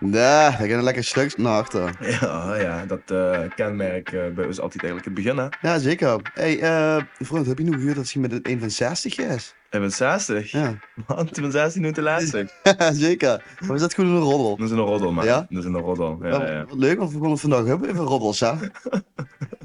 Nee, daar gaan lekker stuks naar achter. Ja, ja dat eh, kenmerk eh, bij ons altijd eigenlijk het begin, hè. Ja, zeker. hey, eh, vriend, heb je nog gehoord dat ze met een van 60 is? Ik ben 60. Ja, Man, ik ben 16 nu te laatste. zeker. Maar is dat gewoon een roddel? Dat is een roddel, man. Ja? Oh. Dat is een roddel. Ja, ja. Wat Leuk, want we konden vandaag hebben even roddels, hè?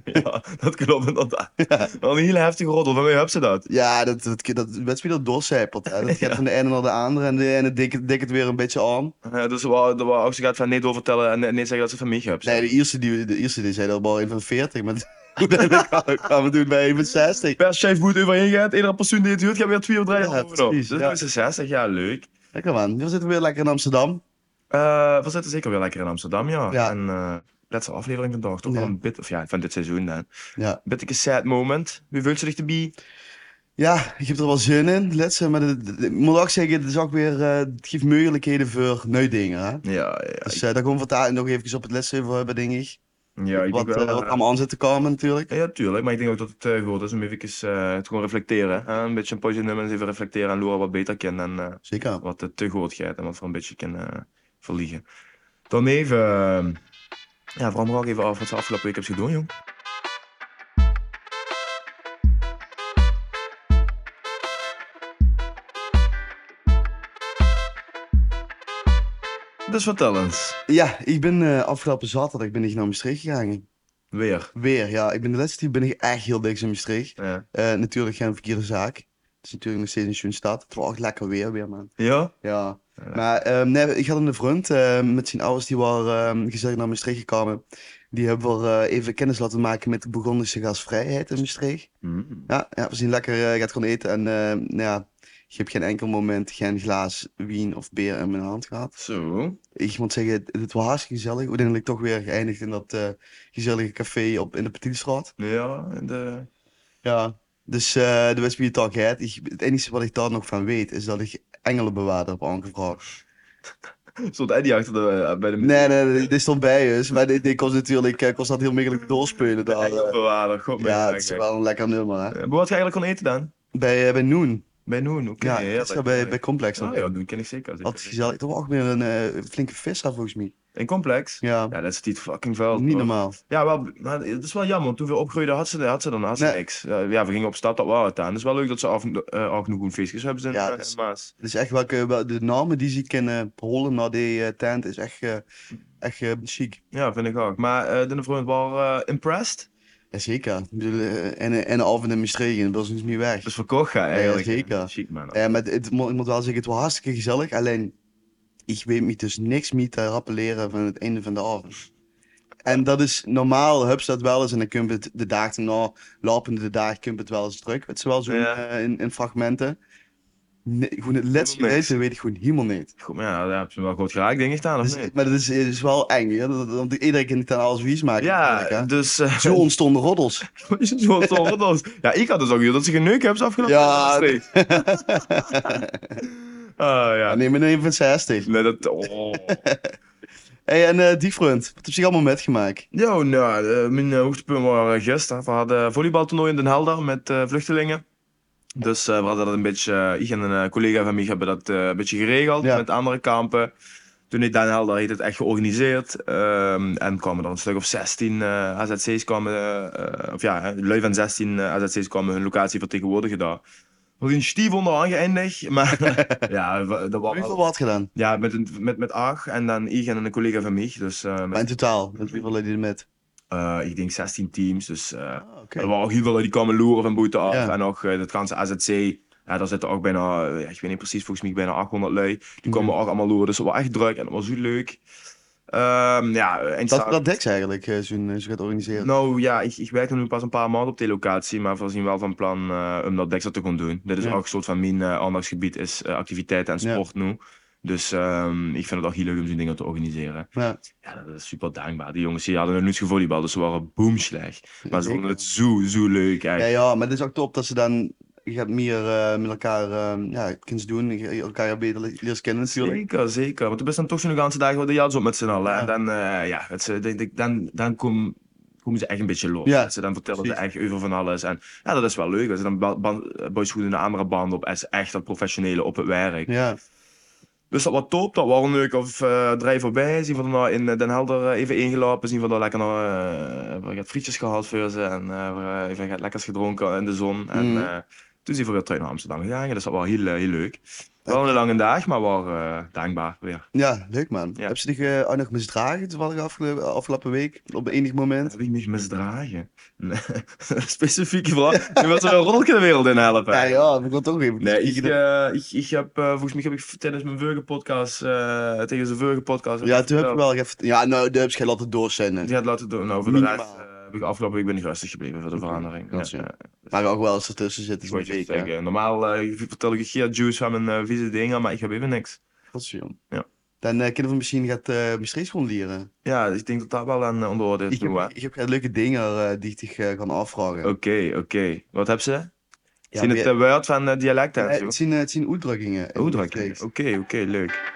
ja, dat klopt inderdaad. Wel een hele heftige roddel. Van wie heb ze dat? Ja, dat, dat, dat wedstrijd dat doorcijpelt. Hè? Dat gaat Ja. van de ene naar de andere en de ene dikt dik het weer een beetje aan. Ja, dus waar, waar ook ze gaat van nee doorvertellen en nee zeggen dat ze van mij hebt. Nee, de eerste die, de eerste die zei dat wel een van 40, maar uiteindelijk gaan- gaan we doen bij een van 60. Per chef moet overheen gaan. Iedere persoon die het huurt gaat weer twee of drie Ja, jaar over. precies, Dus nu ja. is ze 60. Ja, leuk. Lekker man, we zitten weer lekker in Amsterdam. Eh, we zitten zeker weer lekker in Amsterdam, ja. Ja. En eh laatste aflevering vandaag. Toch Ja. wel een bit, of ja, van dit seizoen dan. Ja. Beetje een sad moment. Wie wil zich erbij? Ja, ik heb er wel zin in. Let's, eh, maar het- het- ik moet ook zeggen, het, is ook weer, eh, het geeft mogelijkheden voor nieuwe dingen. Hè? Ja, ja. Dus eh, daar komen we vandaag nog even op het les over hebben, denk ik. ja, ik Wat, denk eh, wel, wat eh, allemaal aan zit te komen natuurlijk. Ja, ja, tuurlijk. Maar ik denk ook dat het eh, goed is om even eh te gewoon reflecteren. hè. Een beetje een potje nemen en eens even reflecteren en Laura wat beter kennen. En eh, Zeker. wat het te goed gaat en wat voor een beetje kan eh, verliegen. Dan even... eh, ja, vooral me ook even af wat ze afgelopen week hebben gedaan, jong. Dus vertel eens. Ja, ik ben eh, afgelopen zaterdag ben ik naar Maastricht gegaan. Weer. Weer, ja. Ik ben de laatste tijd ben ik echt heel diks in Maastricht. Ja? Eh, natuurlijk geen verkeerde zaak. Het is natuurlijk nog steeds een schoen stad. Het was echt lekker weer weer, man. Ja? Ja. Ja. Maar ehm, nee, ik had een vriend eh, met zijn ouders, die waren ehm, gezellig naar Maastricht gekomen. Die hebben we eh, even kennis laten maken met de Burgondische gasvrijheid in Maastricht. Mm. Ja, ja we zien lekker, eh, je gaat gewoon eten en eh, nou ja, je hebt geen enkel moment geen glaas wien of beer in mijn hand gehad. Zo. Ik moet zeggen, het, het was hartstikke gezellig. Uiteindelijk toch weer geëindigd in dat eh, gezellige café op, in de Petitstraat. Ja, en de... Ja, dus eh de West Beer Talk Head. Ik, het enige wat ik daar nog van weet is dat ik engelenbewaarder heb aangevraagd. Stond Eddie achter de, eh, bij de... Nee, nee, nee, dit stond bij ons. Maar dit, dit kost natuurlijk eh, kost dat heel makkelijk doorspelen. Daar, eh. Bewaarder, god me ja, dank, het is hè. wel een lekker nummer. Hè? Eh, Maar wat ga je eigenlijk kon eten dan? Bij, eh, bij Noon. Bij Noon, oké. Ja, dat is bij, bij Complex. Ah, dan. ja, Noon ken ik zeker. zeker. Altijd gezellig. Toch ook weer een eh, flinke visser volgens mij. In Complex? Ja. Ja, dat is niet fucking vuil. niet bro. normaal. Ja, wel, maar het is wel jammer, want toen we opgroeiden had ze, had ze dan had ze Nee. niks. Ja, ja, we gingen op stap, dat waren het aan. Het is wel leuk dat ze af, en- eh, af en toe een feestjes hebben. Zijn, Ja, eh, dat is- Maas. Dus echt welke, wel- de namen die ze kunnen holen naar die eh, tent is echt, eh, echt eh, chic. ja, vind ik ook. Maar eh de vriend was eh, impressed. Jazeker. Ik bedoel, eh, En, en de avond in Maastricht, dat is niet meer weg. Dus verkocht ga eigenlijk. zeker. Eh. Chic man. Ja, maar het, mo- ik moet wel zeggen, het was hartstikke gezellig. Alleen, ik weet me dus niks meer te rappelleren van het einde van de avond. En dat is normaal, hubs dat wel eens. En dan kun je het de dag daarna, lopende de dag, kun je het wel eens druk. Het is wel zo Ja. eh, in, in fragmenten. Nee, gewoon het laatste Helemaal niks. weten weet ik gewoon helemaal niet. Goed, maar ja, daar heb je wel goed geraakt, denk ik dan, of Dus- niet? maar dat is, is wel eng, hè? Dat- dat- want iedereen kan het aan alles wies maken. Ja, natuurlijk, hè. dus... eh, Zo ontstonden roddels. Zo toch, dat was- Ja, ik had dus ook gehoord dat ze geneukt hebben ze afgelopen Ja. week. Ah, ja. Neem een 1 van 60. Nee, dat... Oh. Hey, en eh, die front, wat heb je allemaal metgemaakt? Ja, nou, eh, mijn eh, hoogtepunt was eh, gisteren. We hadden een volleybaltoernooi in Den Helder met eh, vluchtelingen. Dus eh, we hadden dat een beetje, eh, ik en een eh, collega van mij hebben dat eh, een beetje geregeld Ja. met andere kampen. Toen ik Den Helder heeft het echt georganiseerd. ehm, en kwamen er een stuk of 16 eh, AZC's kwamen, eh, eh, of ja, hè, lui van 16 eh, AZC's kwamen hun locatie vertegenwoordigen daar. We zijn stief onderaan geëindigd, maar ja, we- dat was... Hoeveel wat gedaan? Ja, met, een- met, met Aag en dan ik en een collega van mij. Dus eh, met Maar in totaal, met hoeveel leed je er met? eh, ik denk 16 teams. Dus eh, Ah, oké. er waren ook heel veel die kwamen loeren van buiten af. Ja. En ook eh, dat ganse AZC. Ja, daar zitten ook bijna, eh, ja, ik weet niet precies, volgens mij bijna 800 lui. Die Mhm. kwamen ook allemaal loeren. Dus het was echt druk en het was zo leuk. Ehm, ja, en Dat, dat dekt ze eigenlijk, eh, zo'n eh, zo gaat organiseren. Nou ja, ik, ik werk nu pas een paar maanden op die locatie, maar we zien wel van plan eh, om dat Dexter te gaan doen. Dit is Ja. ook een soort van mijn eh, aandachtsgebied, is eh, activiteiten en Ja. sport nu. Dus ehm, ik vind het ook heel leuk om zo'n dingen te organiseren. Ja. Ja, dat is super dankbaar. Die jongens die hadden nog niet gevolleybald, dus ze waren boomslecht. Maar ze Zeker. vonden het zo, zo leuk Ja, eigenlijk. ja, maar het is ook top dat ze dan, je gaat meer eh, met elkaar, eh, ja, kunst doen, je- je elkaar beter le- leert kennen natuurlijk. Zeker, zeker. Want het is dan toch zo'n ganse dag wat de jas op met z'n allen. Ja. En dan, eh, ja, het, is, eh, denk ik, dan, dan kom- komen ze echt een beetje los. Ja, ze dan vertellen precies. ze echt over van alles. En ja, dat is wel leuk. Als ze dan ba- ban- boys goed in de andere band op, is echt dat professionele op het werk. Ja, Dus dat was top, dat was een leuk of eh drijf voorbij. Zien we daarna in eh, Den Helder eh, even ingelopen. Zien we daar lekker nog eh, we hebben frietjes gehaald voor ze. En eh, we hebben even wat lekkers gedronken in de zon. En Mhm. eh, toen zijn we weer terug naar Amsterdam gegaan. Dus dat was heel, eh, heel leuk. Wel een lange dag, maar wel eh, dankbaar weer. Ja, leuk man. Ja. Heb ze zich eh, ook nog misdragen toevallig afgelopen, afgelopen week? Op enig moment? Heb ik niet misdragen? Nee. Specifieke vraag. Je wilt er een rolke de wereld in helpen. Ja, ja, ik wil toch even. Nee, ik, eh, ik, ik heb, eh, volgens mij heb ik tijdens mijn Vurgen podcast, eh, tegen zijn Vurgen podcast. heb ja, toen heb ik verteld. wel even. Ja, nou, dat heb je laten doorzenden. Die had laten doen. Nou, voor de Minimaal. rest eh, heb ik afgelopen week ben ik rustig gebleven voor de Oké, verandering. dat is Ja, ja. ja. Maar ook wel eens ertussen zitten. Ik wou Dat je is een zeggen, Normaal eh, vertel ik je juice van mijn eh, vieze dingen, maar ik heb even niks. Ja. Dan eh, kunnen we misschien gaat eh misschien gewoon leren. Ja, dus ik denk dat dat wel aan eh, onder orde is. Ik doen, hè. heb, ik heb geen leuke dingen eh, die ik zich eh, kan afvragen. Oké, oké. Wat heb ze? Ja, Zien het weer- eh, woord van eh, dialecten? eh, het, zien, eh, het zien uitdrukkingen. in Oh, de dat oké, tekst. oké, leuk.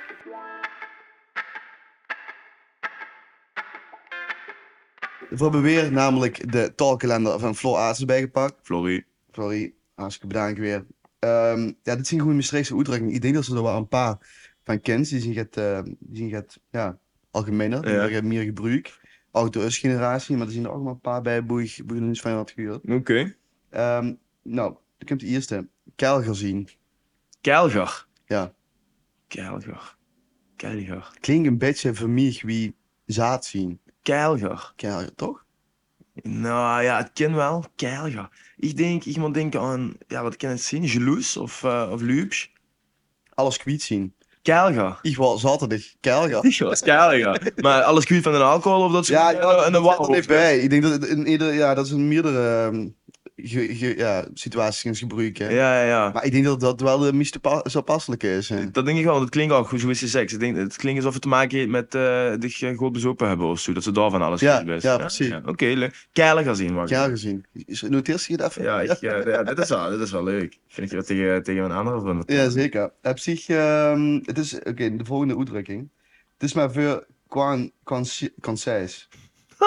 We hebben weer namelijk de taalkalender van Floor Aartsen bijgepakt. Florie. Sorry, hartstikke bedankt weer. Ehm, ja, dit zijn gewoon Maastrichtse uitdrukkingen. Ik denk dat ze er wel een paar van kent. Die zien gaat, eh, die zien gaat ja, algemener, die Ja. worden meer gebruikt. Ook de generatie, maar er zien er ook maar een paar bij, boeig, boeig niet van wat gehoord. Oké. Ehm, nou, dan komt de eerste. Keil gezien. Kelger. Ja. Kelger. Kelger. Klinkt een beetje voor mij wie zaad zien. Kelger. Keil, toch? Nou ja, het kan wel. Kelger. Ik denk, iemand denkt aan, ja, wat kan het zien? Jaloers of, eh of luupsch? Alles kwiet zien. Kelger. Ik was zaterdag keil gaan. Ik was Kelger. Maar alles kwijt van een alcohol of dat soort Ja, eh, ja, en een Dat warhoofd. heeft bij. Ik denk dat het in ieder, ja, dat is in meerdere ehm, ge- ge- ja, situaties in gebruik. Hè? Ja, ja, ja. Maar ik denk dat dat wel de meest pa- zo passelijke is. Hè? Dat denk ik wel, want het klinkt ook goed, zoals je zegt. Ik denk, het klinkt alsof het te maken heeft met eh dat je goed bezopen hebben of zo. Dat ze daar van alles Ja, kwijt best. ja, precies. Oké, leuk. Kelger zien, wacht. Keil gezien. Is- Noteer je het even? Ja, ik, eh, ja, dit is wel, dit is wel leuk. Vind ik dat tegen, tegen een andere van. Ja, zeker. Op zich, ehm, het is, oké, de volgende uitdrukking. Het is maar veel quan- conci- concise.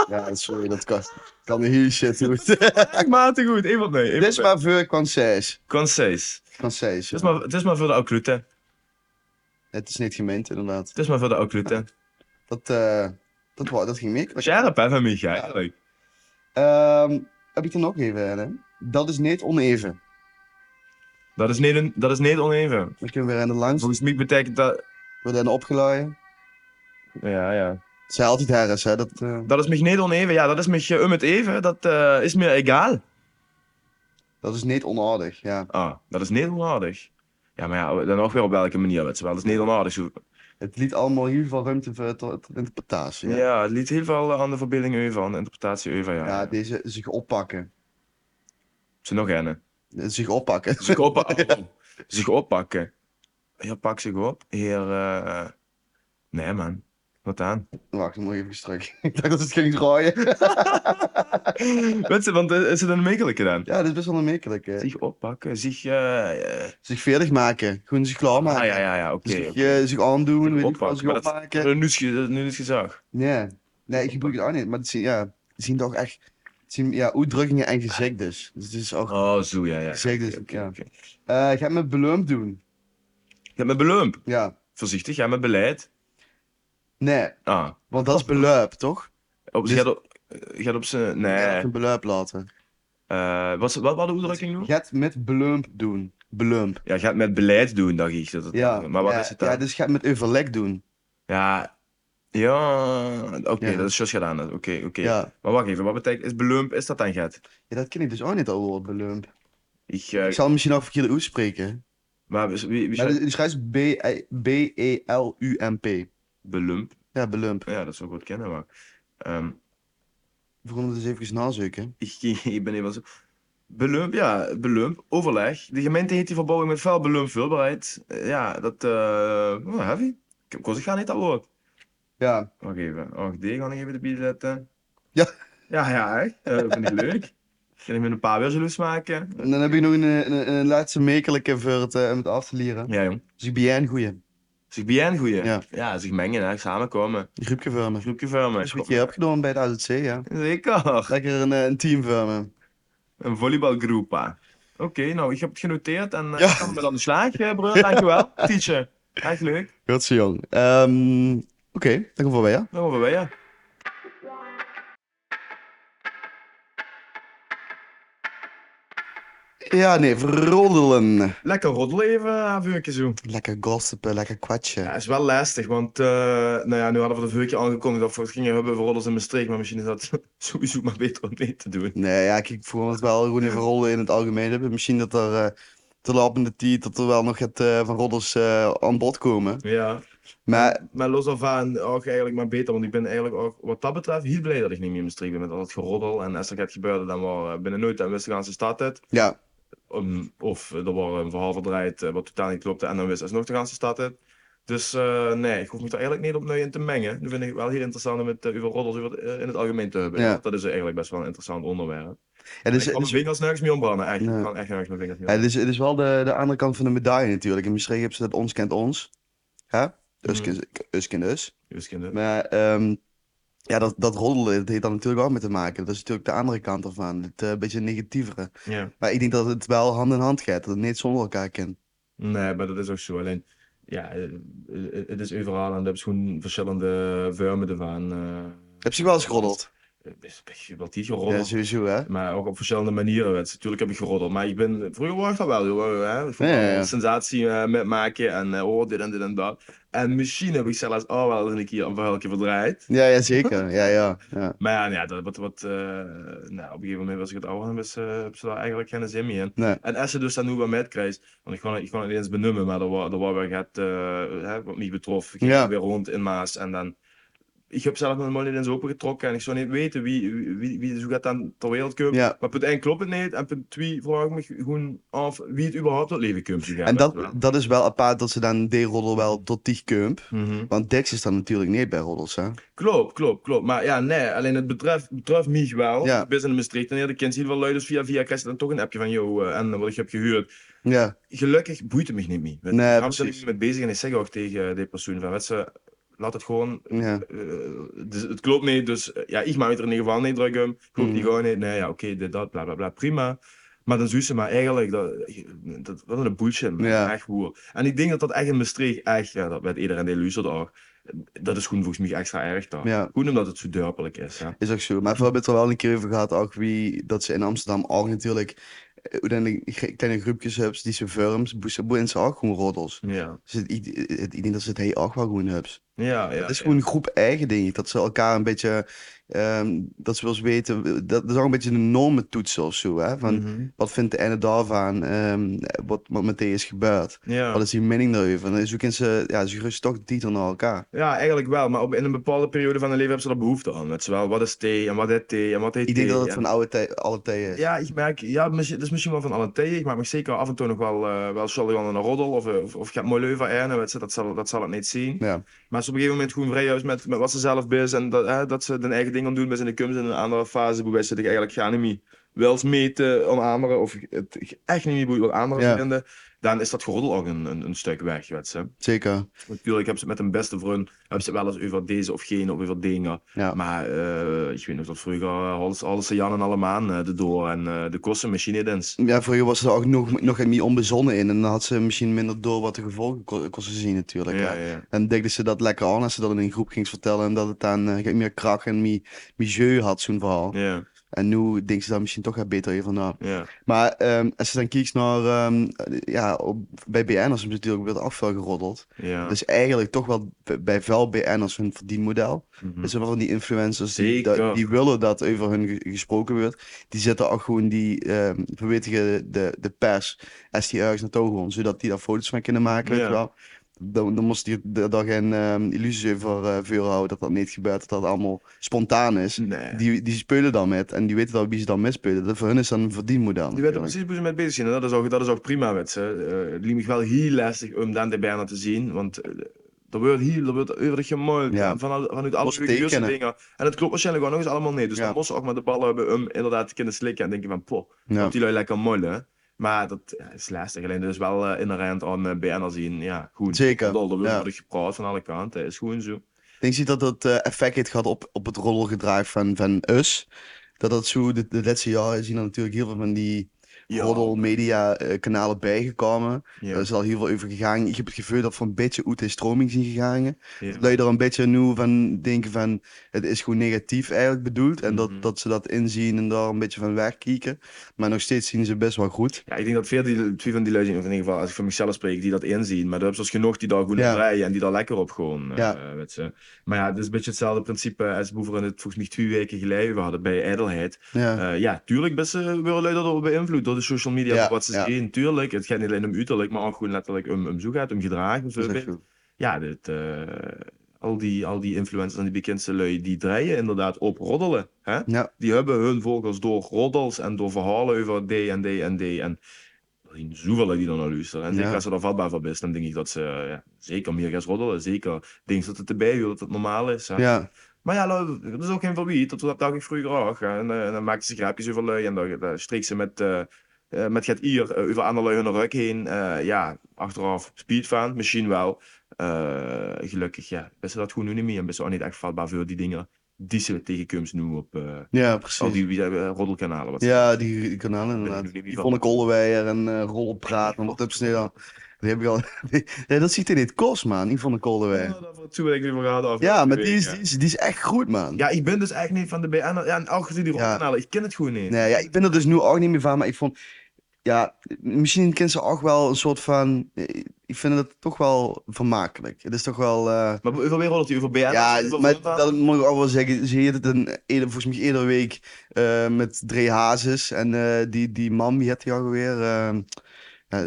Ja, sorry, dat kan, kan heel shit goed. Echt matig goed, één wat nee. Het is maar veel concise. Concise. Het Concise. is ja. maar, het is maar voor de occlute. Het is niet gemeend, inderdaad. Het is maar voor de occlute. Dat, eh, dat, wa- dat ging mee. Scherp, hè, van Micha, eigenlijk. Ehm, heb ik er nog even, hè? Dat is niet oneven. Dat is niet, een- dat is niet oneven. Dan kunnen we weer aan de langs. We Volgens mij betekent dat... worden opgeladen. Ja, ja. Het zijn altijd herres, hè? Dat, eh, Dat is mij niet oneven. Ja, dat is mij eh, om het even. Dat eh, is me egal. dat is niet onaardig, ja. Ah, dat is niet onaardig. Ja, maar ja, dan ook weer op welke manier, weet je wel. Dat is niet onaardig. Zo. Het liet allemaal in ieder geval ruimte voor tot, tot interpretatie. Ja. hè. het liet heel veel aan de verbeelding over, aan de interpretatie over, ja. Ja, deze zich oppakken. Eh, Ze nog een. Zich oppakken. Zich, oppa- oh, zich oppakken. Heer, pak zich op. Heer, eh, Nee, man. Wat aan? Wacht, dan moet ik even terug. ik dacht dat het ging draaien. Weet je, want eh, is het een makkelijke dan? Ja, dat is best wel een makkelijk. hè. Zich oppakken, zich... eh, eh, Zich veerdig maken. Gewoon zich ah, klaarmaken. ja, ja, ja, oké. Zich, eh, zich aandoen, Zich weet ik wat, oppakken, zich maar dat- opmaken. Nu is ge- nu is gezag. Nee, nee, ik gebruik het ook niet. Maar het zien, ja, het zien toch echt... het zien, ja, uitdrukkingen en gezegd dus. Dus het is ook... Oh, zo, ja, ja. Gezegd dus, Oké, ja. oké. Eh, ga me beloond doen. Je hebt met belump. Ja. Voorzichtig, ja, met beleid. Nee, Ah. want dat is beluip, toch? Op, Dus- gaat op, eh, gaat op zijn... Nee. Ja, dat is een beluip laten. Eh, wat, wat, wat de uitdrukking nu? Gaat met belump doen. Belump. Ja, gaat met beleid doen, dacht ik. Dat het, Ja. Maar wat ja, is het dan? Ja, dus gaat met overleg doen. Ja, ja oké, Ja. dat is juist gedaan. dat- Oké, oké. Ja. Maar wacht even, wat betekent, is belump, is dat dan gaat? ja, dat ken ik dus ook niet al woord, belump. Ik, eh, Ik zal hem misschien ook verkeerd uitspreken. maar wie, wie, wie Maar het het schrijft dus B- E B-E-L-U-M-P. belump? Ja, belump. Ja, dat zou ik goed kennen, maar... ehm, We gaan het eens even nazoeken. ik, ik ben even zo... Belump, ja, belump, overleg. De gemeente heeft die verbouwing met vuil belump vulbaarheid. Eh, Ja, dat, eh oh, heavy. Ik kon zich gaan niet dat woord. Ja, Wacht even, oh, die ga ik even erbij zetten. Ja. Ja, ja, echt. Eh, vind ik leuk. Kan ik met een paar weer jaloers maken? en dan heb ik nog een, een, een laatste mekelijke voor het, eh, om het af te leren. Ja, jong. Dus ik ben jij een goeie. Zich bijeen goeie. Ja. zich mengen, hè. samenkomen. Een groepje voor me. Groepje vormen. Dat is Dus wat je hebt gedaan bij de AZC, ja. Zeker. Lekker een, eh, een team voor me. Een volleybalgroep. hè. Oké, nou, ik heb het genoteerd en eh, Ja. ik kan met aan de slag, eh, broer. Dankjewel. Teacher. Echt leuk. Goed zo, jong. Ehm, Oké, dank voor bij jou. Nou, waar ben je? Ja, nee, roddelen. Lekker roddelen even, eh, een vuurtje zo. Lekker gossipen, lekker kwatschen. Ja, is wel lastig, want eh, nou ja, nu hadden we dat vorige keer aangekondigd dat we het gingen hebben voor roddels in Maastricht, maar misschien is dat sowieso maar beter om niet te doen. Nee, ja, kijk, ik vond het wel goed in rollen in het algemeen hebben. Misschien dat er eh, te lap in de tijd dat er wel nog het eh, van roddels eh, aan bod komen. Ja, Maar maar los daarvan ook eigenlijk maar beter, want ik ben eigenlijk ook wat dat betreft heel blij dat ik niet meer in Maastricht ben met al dat geroddel. En als er gaat gebeuren, dan waren we binnen nooit en wist de ganse stad het. ja, Um, of er wordt een verhaal verdraaid eh, wat totaal niet klopte en dan wist alsnog de ganse stad het. Dus eh, nee, ik hoef me er eigenlijk niet opnieuw in te mengen. Nu vind ik het wel heel interessant om het eh, over roddels over, het, eh, in het algemeen te hebben. Ja. Dus, eh, Dat is eigenlijk best wel een interessant het onderwerp. is, ik kan het mijn is, vingers nergens mee ombranden. Echt, Nee. ik kan echt nergens mijn vingers mee het is, dus, het is wel de, de andere kant van de medaille natuurlijk. In Maastricht hebben ze dat ons kent ons. Hè? Us Mhm. kent- us kent us. ombranden. Maar ehm, ja, dat, dat roddelen, dat heeft daar natuurlijk ook mee te maken. Dat is natuurlijk de andere kant ervan. Het eh, beetje negatievere. Ja. Maar ik denk dat het wel hand in hand gaat. Dat het niet zonder elkaar kan. Nee, maar dat is ook zo. Alleen, ja, eh, eh, het is overal en er is gewoon verschillende vormen ervan. eh Heb je wel eens geroddeld? het is een beetje wat die Ja, geroddeld. sowieso hè. Maar ook op verschillende manieren. weet je. Tuurlijk heb ik geroddeld, maar ik ben vroeger was dat wel heel erg, hè. Ik vond Ja, wel ja, ja. een sensatie eh, met maken en eh, oh, dit en dit en dat. En misschien heb ik zelfs al wel eens een keer een verhaaltje verdraaid. Ja, ja, zeker. Ja, ja, ja. Maar ja, nou ja dat, wat, wat, eh, nou, op een gegeven moment was ik het ouder en was, eh, hebben ze daar eigenlijk geen zin meer in. Nee. En als ze dus dan nu wat met krijgt, want ik kon, het- ik kon het niet eens benoemen, maar er was, er was weer het, eh, hè, wat mij betrof. Ik ging Ja. weer rond in Maas en dan... Ik heb zelf mijn mond niet eens opengetrokken en ik zou niet weten wie, wie, wie, wie zo gaat dan ter wereld komen. Ja. Maar punt 1 klopt het niet en punt 2 vraag ik me gewoon af wie het überhaupt tot leven komt. te gaan, En weet je dat, wel. dat is wel apart dat ze dan de roddel wel tot die kump. Mhm. Want Dex is dan natuurlijk niet bij roddels, hè? Klopt, klopt, klopt. Maar ja, nee, alleen het betreft, betreft mij wel. Ja. Ik ben in Maastricht en ja, de kind ziet wel lui, dus via via krijg je dan toch een appje van, yo, eh, en wat ik heb gehuurd. Ja, Gelukkig boeit het me niet meer. Nee, Daarom precies. ben ik niet mee bezig en ik zeg ook tegen die persoon van, weet ze, laat het gewoon, ja. eh, dus het klopt niet, dus eh, ja, ik maak het er in ieder geval niet druk om. Klopt Mhm. niet gewoon niet, nee, ja, oké, dit, dat, bla, bla, bla, prima. Maar dan zoet ze maar eigenlijk, dat, eh, dat, wat een bullshit, man. Ja. echt hoer. En ik denk dat dat echt in Maastricht, echt, ja, dat weet iedereen die luistert ook, dat is gewoon volgens mij extra erg daar. Ja, Goed omdat het zo duidelijk is. Ja. is ook zo. Maar we hebben het er wel een keer over gehad, ook wie, dat ze in Amsterdam ook natuurlijk eh, hoe dan die ge- kleine groepjes hebben, die ze firms, boeien boeien ze ook gewoon roddels. Ja, Dus het, ik, het- ik denk dat ze het heel ook wel gewoon hebben. ja, ja. Het is ja. gewoon een groep eigen, denk ik. Dat ze elkaar een beetje, ehm, dat ze wel eens weten, dat, dat is ook een beetje de normen toetsen of zo, hè? Van, Mhm. wat vindt de ene daarvan, ehm, wat, wat met die is gebeurd? ja. Wat is die mening daarover? En zo kunnen ze, ja, ze gerust toch de titel naar elkaar. ja, eigenlijk wel. Maar op, in een bepaalde periode van hun leven hebben ze daar behoefte aan. Weet je wel, wat is thee en wat is thee en wat heet Ik denk thee dat het en- van oude tij, alle tijden is. Ja, ik merk, ja, misschien- dat is misschien wel van alle tijden. Ik maak me zeker af en toe nog wel, eh wel Charlotte aan een roddel of, eh, of, of gaat mooi leuven en weet je, dat zal, dat zal het niet zien. Ja. Maar als ze op een gegeven moment gewoon vrij is met, met wat ze zelf bezig en dat, hè, dat ze hun eigen ding aan doen, zijn in de kunst in een andere fase, waarbij ze zich eigenlijk gaan niet meer wel eens meten aan anderen of het echt niet meer boeit wat anderen Ja. vinden, dan is dat geroddel ook een, een, een stuk weg, weet je. zeker. Natuurlijk hebben ze het met een beste vriend hebben ze het wel eens over deze of gene of over dingen. Ja. Maar eh, ik weet nog dat vroeger eh, alles, alles en Jan en Allemaan eh, de door en eh, de kosten machine dins. Ja, vroeger was ze er ook nog, nog niet onbezonnen in. En dan had ze misschien minder door wat de gevolgen ko- kosten zien natuurlijk. hè. Ja, ja. En dikte ze dat lekker aan als ze dat in een groep ging vertellen. En dat het dan eh, meer krak en meer, meer jeu had, zo'n verhaal. Ja, En nu denkt ze daar misschien toch wel beter even na. ja. Maar ehm, als je dan kijkt naar, ehm, ja, op, bij BN'ers is natuurlijk weer af veel geroddeld. ja. Dus eigenlijk toch wel b- bij veel BN'ers hun verdienmodel. Mhm. Dus er van die influencers die, Zeker. dat- die willen dat over hun ge- gesproken wordt. Die zetten ook gewoon die, ehm verwittigen de, de pers, STR's naartoe gewoon. Zodat die daar foto's van kunnen maken, weet Ja. je wel. Dan, dan moest je d- daar geen ehm, illusies over eh vuur houden dat dat niet gebeurt. Dat dat allemaal spontaan is. Nee. Die, die spelen dan met en die weten dan wie ze dan meespelen. Dat voor hun is dan een verdienmodel. Die weten natuurlijk. precies hoe ze mee bezig zijn. En dat is ook, dat is ook prima, weet ze. Eh, het liep me wel heel lastig om dan de bijna te zien. Want eh, er wordt heel, er wordt overig gemolken. Ja. en Vanuit, vanuit alle Moest religieuze tekenen. dingen. En het klopt waarschijnlijk ook nog eens allemaal niet. Dus Ja. dan moest ze ook met de ballen hebben om inderdaad te kunnen slikken. En denk je van, poh, Ja. op die lui lekker mollen. Maar dat ja, is lastig. Alleen dus wel eh, inherent aan eh, BN'er zien. Ja, goed. Zeker, Er wordt ja. er gepraat van alle kanten. Is gewoon zo. Denk je dat dat eh, effect heeft gehad op, op het rollengedrag van, van us? Dat dat zo, de, de laatste jaren zien er natuurlijk heel veel van die Ja. roddel media eh, kanalen bijgekomen. Ja. Er is al heel veel over gegaan. Ik heb het gevoel dat we een beetje uit de stroming zien gegaan. Ja. Dat je er een beetje nu van denken van het is gewoon negatief eigenlijk bedoeld. En Mhm. dat, dat ze dat inzien en daar een beetje van wegkieken. Maar nog steeds zien ze best wel goed. Ja, ik denk dat veel die, twee van die lui zijn, of in ieder geval als ik voor mezelf spreek, die dat inzien. Maar er hebben zoals genoeg die daar goed Ja. op rijden en die daar lekker op gewoon. eh, Ja. weet ze. Maar ja, het is een beetje hetzelfde principe als Boever en het volgens mij twee weken geleden we hadden bij ijdelheid. Ja. Eh, ja, tuurlijk best eh, worden lui daardoor beïnvloed door de social media, Ja, door wat ze ja. zien. Tuurlijk, het gaat niet alleen om uiterlijk, maar ook gewoon letterlijk om, om zoekheid, om gedrag. Om zo. dat is echt goed. Ja, dit, eh, al, die, al die influencers en die bekendste lui, die draaien inderdaad op roddelen. Hè? Ja. Die hebben hun volgers door roddels en door verhalen over D en D en D. En er zijn zoveel lui die dan naar luisteren. En Ja. zeker als ze daar vatbaar voor is, dan denk ik dat ze eh, ja, zeker meer gaan roddelen. Zeker denk dat het erbij hoort, dat het normaal is. hè. ja, Maar ja, lui, dat is ook geen verbied. Dat, dat dacht ik vroeger ook. hè. En, eh, dan maakten ze grapjes over lui en dan, dan streek ze met, eh eh, met het ier eh, over andere lui hun ruk heen. Eh, ja, achteraf speedfan, misschien wel. Eh, gelukkig, ja. Best dat gewoon nu niet meer. En best wel niet echt vatbaar voor die dingen die ze tegenkomt nu op eh ja, al precies. die eh, roddelkanalen. Wat ze- Ja, die, die kanalen ik inderdaad. nu niet wie Yvonne Kollewijer en eh Rollen Praat en wat heb ze nou? Die heb ik al... Nee, dat ziet in dit kost, man. Yvonne Kollewijer. Ja, daarvoor toe ben ik weer verraden af. Ja, maar die Weet is, ik, die, ja. is, die is echt goed, man. Ja, ik ben dus echt niet van de BN. Ja, en al gezien die Ja. roddelkanalen, ik ken het gewoon niet. Nee, ja, ik ben er dus nu ook niet meer van, maar ik vond... Ja, misschien kent ze ook wel een soort van... Ik vind het toch wel vermakelijk. Het is toch wel... eh, Maar over weer roddelt hij over BN? ja, Over maar Frontlaan? dat moet ik ook wel zeggen. Ze heette het een, eerder, volgens mij eerder week eh, met Dre Hazes. En eh, die, die man, die had hij ook Eh, weer.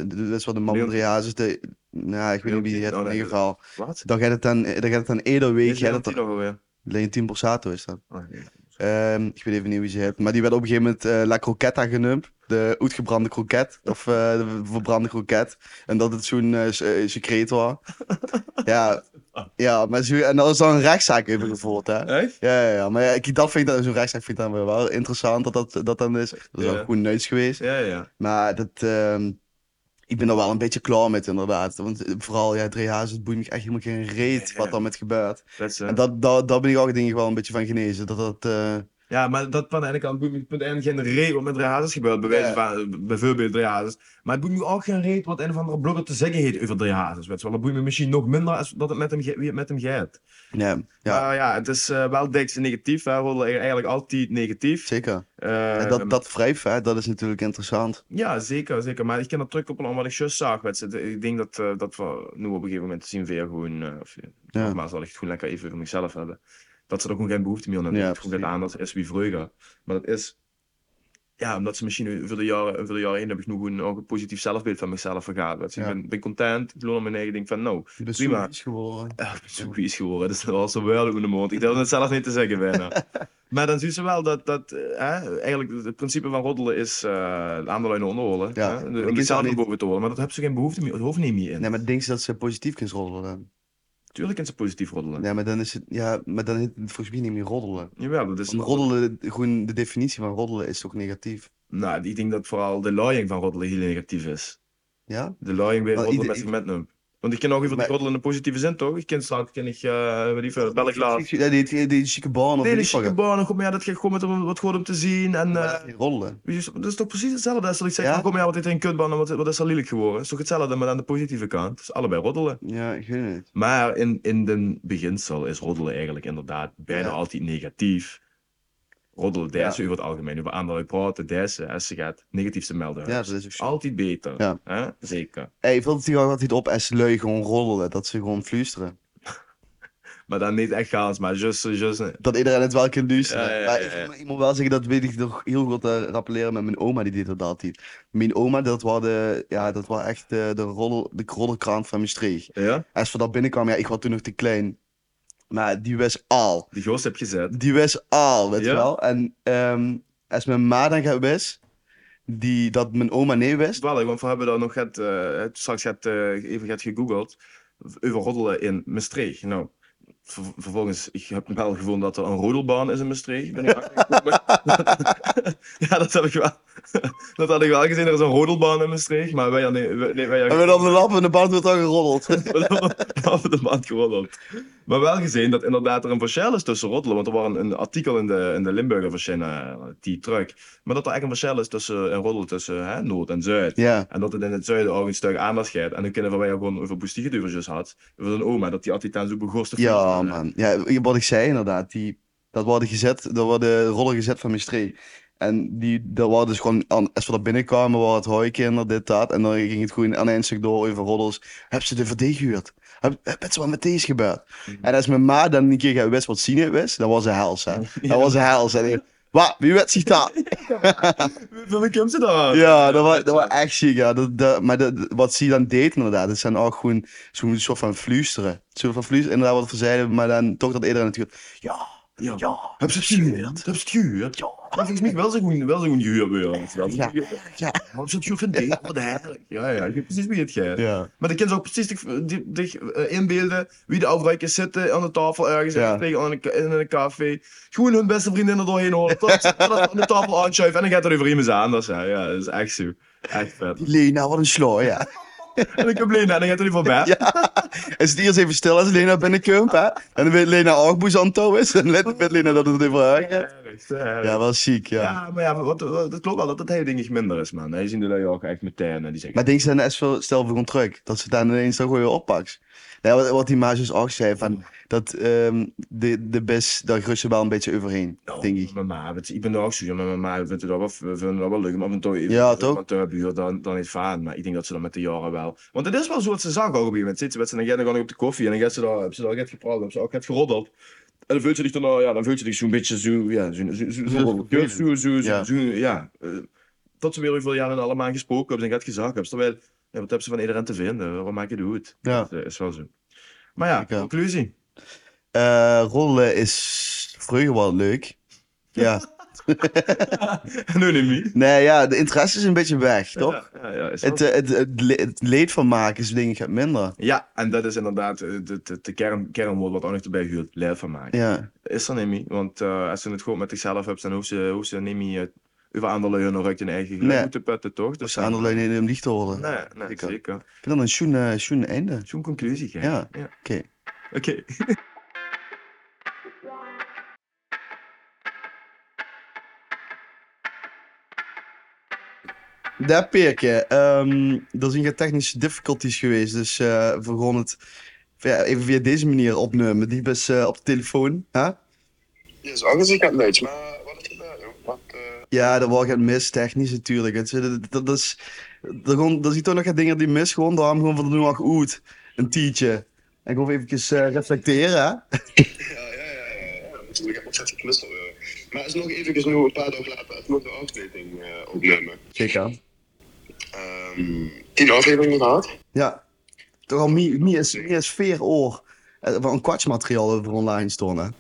dat is wel de man van Leon- Dre Hazes. De, nou, ik weet niet wie die Leontien, het oh, in nee, ieder geval. Wat? Dan gaat het dan, dan, gaat het dan eerder week. Is gaat Leontien het dan- nog alweer? Leontien Borsato is dat. Oh, nee. Ehm, ik weet even niet wie ze heeft. Maar die werd op een gegeven moment eh, La Croquetta genoemd. De uitgebrande kroket. Of eh, de verbrande kroket. En dat het zo'n eh, s- eh, secreet was. ja. ja, maar zo, en daar is dan een rechtszaak over gevoerd, hè? Echt? Ja, ja, ja. maar ja, ik, dat vind ik, zo'n rechtszaak vind ik dan weer wel interessant dat dat, dat dan is. Dat is Ja. ook goed neuts geweest. Ja, ja. Maar dat, ehm, ik ben er wel een beetje klaar met, inderdaad. Want eh, vooral, ja, drie hazen, het boeit me echt helemaal geen reet wat daar met gebeurt. Dat is, eh, En dat, dat, daar ben ik ook denk ik wel een beetje van genezen. Dat dat, eh, Ja, maar dat van de ene kant boeit me punt één geen reet wat met Drehazes gebeurt. Bij wijze Ja. van, eh, bijvoorbeeld Drehazes. Maar het boeit me ook geen reet wat een of andere blogger te zeggen heeft over Drehazes. Weet je wel. Dat boeit me misschien nog minder als dat het met hem, ge- wie het met hem gaat. ja, ja, Ja. ja, het is eh, wel dikste negatief. Hè. We worden eigenlijk altijd negatief. zeker. Eh, En dat, dat wrijven, hè, dat is natuurlijk interessant. Ja, zeker, zeker. Maar ik kan dat terugkoppelen aan wat ik juist zag. weet je. Ik denk dat, eh, dat we nu op een gegeven moment zien weer gewoon... eh, of, eh, Ja. Nogmaals, dat ik het gewoon lekker even voor mezelf hebben. Dat ze er gewoon geen behoefte meer aan hebben. Ja, het gewoon precies. aan, dat is wie vreugde. Maar dat is... Ja, omdat ze misschien over de jaren, over de jaren heen heb ik nog gewoon ook een positief zelfbeeld van mezelf vergaat. weet je. Ik Ja. ben, ben content, ik loon aan mijn eigen denk van nou, Je bent Prima. zo vies geworden. eh, ik ben zo vies geworden. Dat is wel zo wel in de mond. Ik durf het zelf niet te zeggen bijna. Maar dan zien ze wel dat, dat eh, hè, eigenlijk het principe van roddelen is eh de aandaluinen onderholen. Ja, hè. maar Om ik weet jezelf wel naar niet- boven te holen. Maar dat hebben ze geen behoefte meer, het hoofd niet meer in. Nee, maar denk je dat ze positief kunt roddelen dan? Tuurlijk kunnen ze positief roddelen. Ja, maar dan is het, ja, maar dan is het volgens mij niet meer roddelen. Jawel, dat is Want roddelen, gewoon de definitie van roddelen is toch negatief? Nou, ik denk dat vooral de laaiing van roddelen heel negatief is. Ja? De laaiing bij Maar roddelen ieder- met segmentnum. Want ik ken ook even Maar- roddelen in de positieve zin, toch? Ik ken straks, ken ik, eh weet ik veel, Belglaas. Ja, die, die, die chique baan of Nee, de die chique vlaggen. baan, en kom, ja, dat gaat gewoon met om, wat goed om te zien. En, Maar eh, dat is geen roddelen. weet je, dat is toch precies hetzelfde als dat ik zeg, Ja? van, kom ja, wat is er een kutbaan en wat, wat is er lelijk geworden? is toch hetzelfde, maar aan de positieve kant. Dus allebei roddelen. Ja, ik weet het. Maar in, in den beginsel is roddelen eigenlijk inderdaad bijna Ja. altijd negatief. Roddelen, Ja. dessen over het algemeen, over anderen praten, dessen, als ze gaat negatief te melden. Ja, dat is ook zo. Altijd beter. Ja. Hè? Zeker. Hey, valt het hier ook altijd op als lui gewoon roddelen, dat ze gewoon fluisteren. Maar dan niet echt gaans, maar just, just... Dat iedereen het wel kan luisteren. Ja, ja, Maar ja, ik- ja. Ik, moet wel zeggen, dat weet ik nog heel goed te rappelleren met mijn oma, die deed dat altijd. Mijn oma, dat was, de, ja, dat was echt eh, de, de, roddel, de roddelkrant van Maastricht. Ja? Als we daar binnenkwam, ja, ik was toen nog te klein. Maar die was al. Die goos heb gezet. Die was al, weet je Ja. wel. En ehm, als mijn ma dan gaat wist, die, dat mijn oma nee wist. Wel, want we hebben daar nog het, eh, straks het, eh, even het gegoogeld over roddelen eh, in Maastricht. Nou, ver- vervolgens, ik heb wel gevonden dat er een roddelbaan is in Maastricht. Ben ik achter gekomen. ja, dat heb ik wel. dat had ik wel gezien. Er is een rodelbaan in Maastricht, maar wij hadden... Wij, nee, wij En we dan de lap en de band wordt dan geroddeld. hadden de band geroddeld. Maar wel gezien dat inderdaad er een verschil is tussen roddelen. Want er was een, een artikel in de, in de Limburger verschenen, die truck. Maar dat er echt een verschil is tussen een roddel tussen hè, Noord en Zuid. Ja. En dat het in het zuiden ook een stuk aandacht geeft. En dan kunnen wij ook gewoon over boestiegeduvertjes had. Over zo'n oma, dat die altijd aan zo'n begorste Ja, man. Ja, wat ik zei inderdaad, die, dat worden gezet, dat worden rollen gezet van Maastricht. En die, dat waren dus gewoon, aan, als we daar binnenkwamen, waren het hooikinderen, dit, dat. En dan ging het gewoon aan een stuk door over roddels. Heb ze de verdee gehuurd? Heb, heb het wel met deze gebeurd? Mhm. En als mijn ma dan een keer wist wat Sine wist, dan was ze hels, hè. Dat was ze hels. En ik, wat, wie weet zich dat? Van komt ze daar? Ja, dat was, dat was echt ziek, ja. Dat, dat, maar dat, wat ze dan deed inderdaad, dat zijn ook gewoon zo'n soort van fluisteren. Zo'n van fluisteren, inderdaad wat we zeiden, maar dan toch dat iedereen natuurlijk, ja, Ja. ja, Heb ze het gehuurd? Heb ze het gehuurd? ja. Maar volgens mij wel zo'n goeie- wel zo'n gehuurd weer. Ja. Ja. Waarom zit je van dit? Wat eigenlijk? Ja, ja, ik weet precies wie het gaat. Ja, Maar dan kan ze ook precies zich die- zich, eh, inbeelden wie de afwijkers zitten aan de tafel ergens Ja. en tegen aan een, ka- in een café. Gewoon hun beste vriendin er doorheen horen. Tot ze dat aan de tafel aanschuiven en dan gaat er over iemand anders. Ja, ja, dat is echt zo. Echt vet. Lena, wat een sloor, ja. En ik heb Lena en dan gaat er niet van bij. Is het eerst even stil als Lena binnenkomt, hè? En dan weet Lena ook boos aan het touw is. En let weet Lena dat het even haar gaat. Ja, wel ziek, ja. Ja, maar ja, wat, wat- dat klopt wel dat het heel dingig minder is, man. Je ziet de lui ook echt meteen en die zeggen... Maar denk ze dan echt veel, stel voor een truck, dat ze dan ineens toch weer oppakt. Nee, wat, wat die Maas dus ook zei, van, dat ehm, de, de best, daar rust ze wel een beetje overheen, Nou, denk ik. Mijn ma, weet je, ik ben er ook zo, ja, maar mijn ma vindt het ook wel, vindt het ook wel leuk om af en toe even Ja, toch? Want buur dan, dan is vaan. Maar ik denk dat ze dat met de jaren wel. Want het is wel zo wat ze zag ook op een gegeven moment. Zit ze met z'n dan gaan op de koffie en dan gaat ze daar, heb ze daar net gepraat, heb ze ook net geroddeld. En dan voelt ze zich dan, eh, ja, dan voelt ze zich zo'n beetje zo, ja, zo, zo, zo, zo, zo, zo, zo, Ja. zo, zo, ja. eh, Tot ze weer hoeveel jaren allemaal gesproken hebben en net gezag hebben. Terwijl, ja, wat hebben ze van iedereen te vinden? Waarom maak je het goed? Ja. Dat eh, is wel zo. Maar ja, Ik, eh, conclusie. Eh rollen is vroeger wel leuk. Ja. Anonymie. Nee, ja, de interesse is een beetje weg, toch? Ja, ja, ja, is wel Het, eh, het, het, le- het leed van maken is denk ik het minder. Ja, en dat is inderdaad eh, de, de, de kern, kernwoord wat ook nog erbij huurt, leren van maken. Ja, Is er niet meer, want eh, als ze het goed met zichzelf hebben, dan hoeven ze, hoeven ze niet meer eh, over andere hun nog uit hun eigen geluid Nee. moeten putten, toch? dus aan de lijn in hem licht te horen. Nee, nee, Zeker. zeker. Ik vind dat een schoen, eh, schoen einde. Zo'n conclusie, hè? Ja. Oké. Oké. Daar Peerke, ehm er zijn geen technische difficulties geweest, dus eh we gaan het ja, even via deze manier opnemen. Die is eh, op de telefoon. Hè? Ja, zo aangezien gaat het Duits, maar wat is er daar, joh? Wat, eh, Ja, dat was het mis, technisch natuurlijk. Het, dat, dat is, er, gewoon, er zijn toch nog geen dingen die mis, gewoon daarom gewoon van de noemer oet, een tietje. En gewoon even eh reflecteren, hè? ja, ja, ja, ja, ja, natuurlijk. Ik heb ontzettend gemist alweer. Maar het is nog even nu een paar dagen later, het moet de aflevering eh, opnemen. Zeker. Ehm, tien afleveringen gehad? Ja. Toch al meer mi is, mi is veer oor eh, van een kwartsmateriaal over online stonden.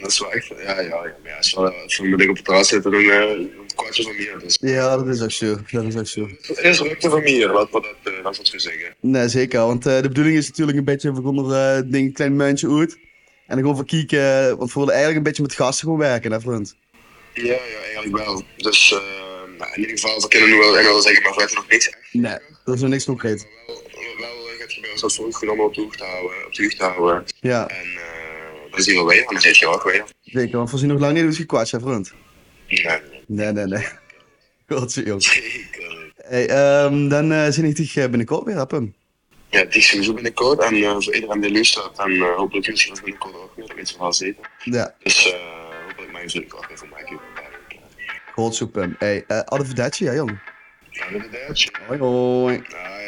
Dat is wel echt, ja, ja, ja. Maar ja, als we, als we met ik op het terras zitten, dan eh, een kwartje van hier. Dus. Ja, dat is ook zo. Dat is ook zo. Het is rukte van hier, laten we dat, eh, laten we dat zo zeggen. Nee, zeker. Want eh, de bedoeling is natuurlijk een beetje, we gaan er eh, denk ik, een klein muntje uit. En dan gewoon voor kieken, eh, want we willen eigenlijk een beetje met gasten gewoon werken, hè, vriend? Ja, ja, eigenlijk wel. Dus eh, nou, in ieder geval, we kunnen nu wel en wel zeggen, maar we hebben nog niks echt. Nee, dat is nog niks concreet. Maar wel, wel eh, gaat gebeuren zoals voorgenomen op de hoogte houden, op de hoogte houden. Ja, En eh, dat is hier wel weer, want dat heeft je ook weer. zeker. Want we zien nog lang niet hoe het gekwatst, hè, vriend? Ja, Nee, nee, nee. Godse jong. zeker. Hey, ehm, dan eh zin ik dich eh, binnenkort weer, Appem. Ja, die is sowieso binnenkort. En eh, voor iedereen die luistert, en eh, hopelijk jullie dat binnenkort ook weer. Ik weet wel zeker. Ja, Dus eh, hopelijk mag je ze ook weer voor mij kunnen goed zo, Pim. Hey, eh, adverdatie, ja, jong. Ja, inderdaad. Hoi, hoi. Hoi.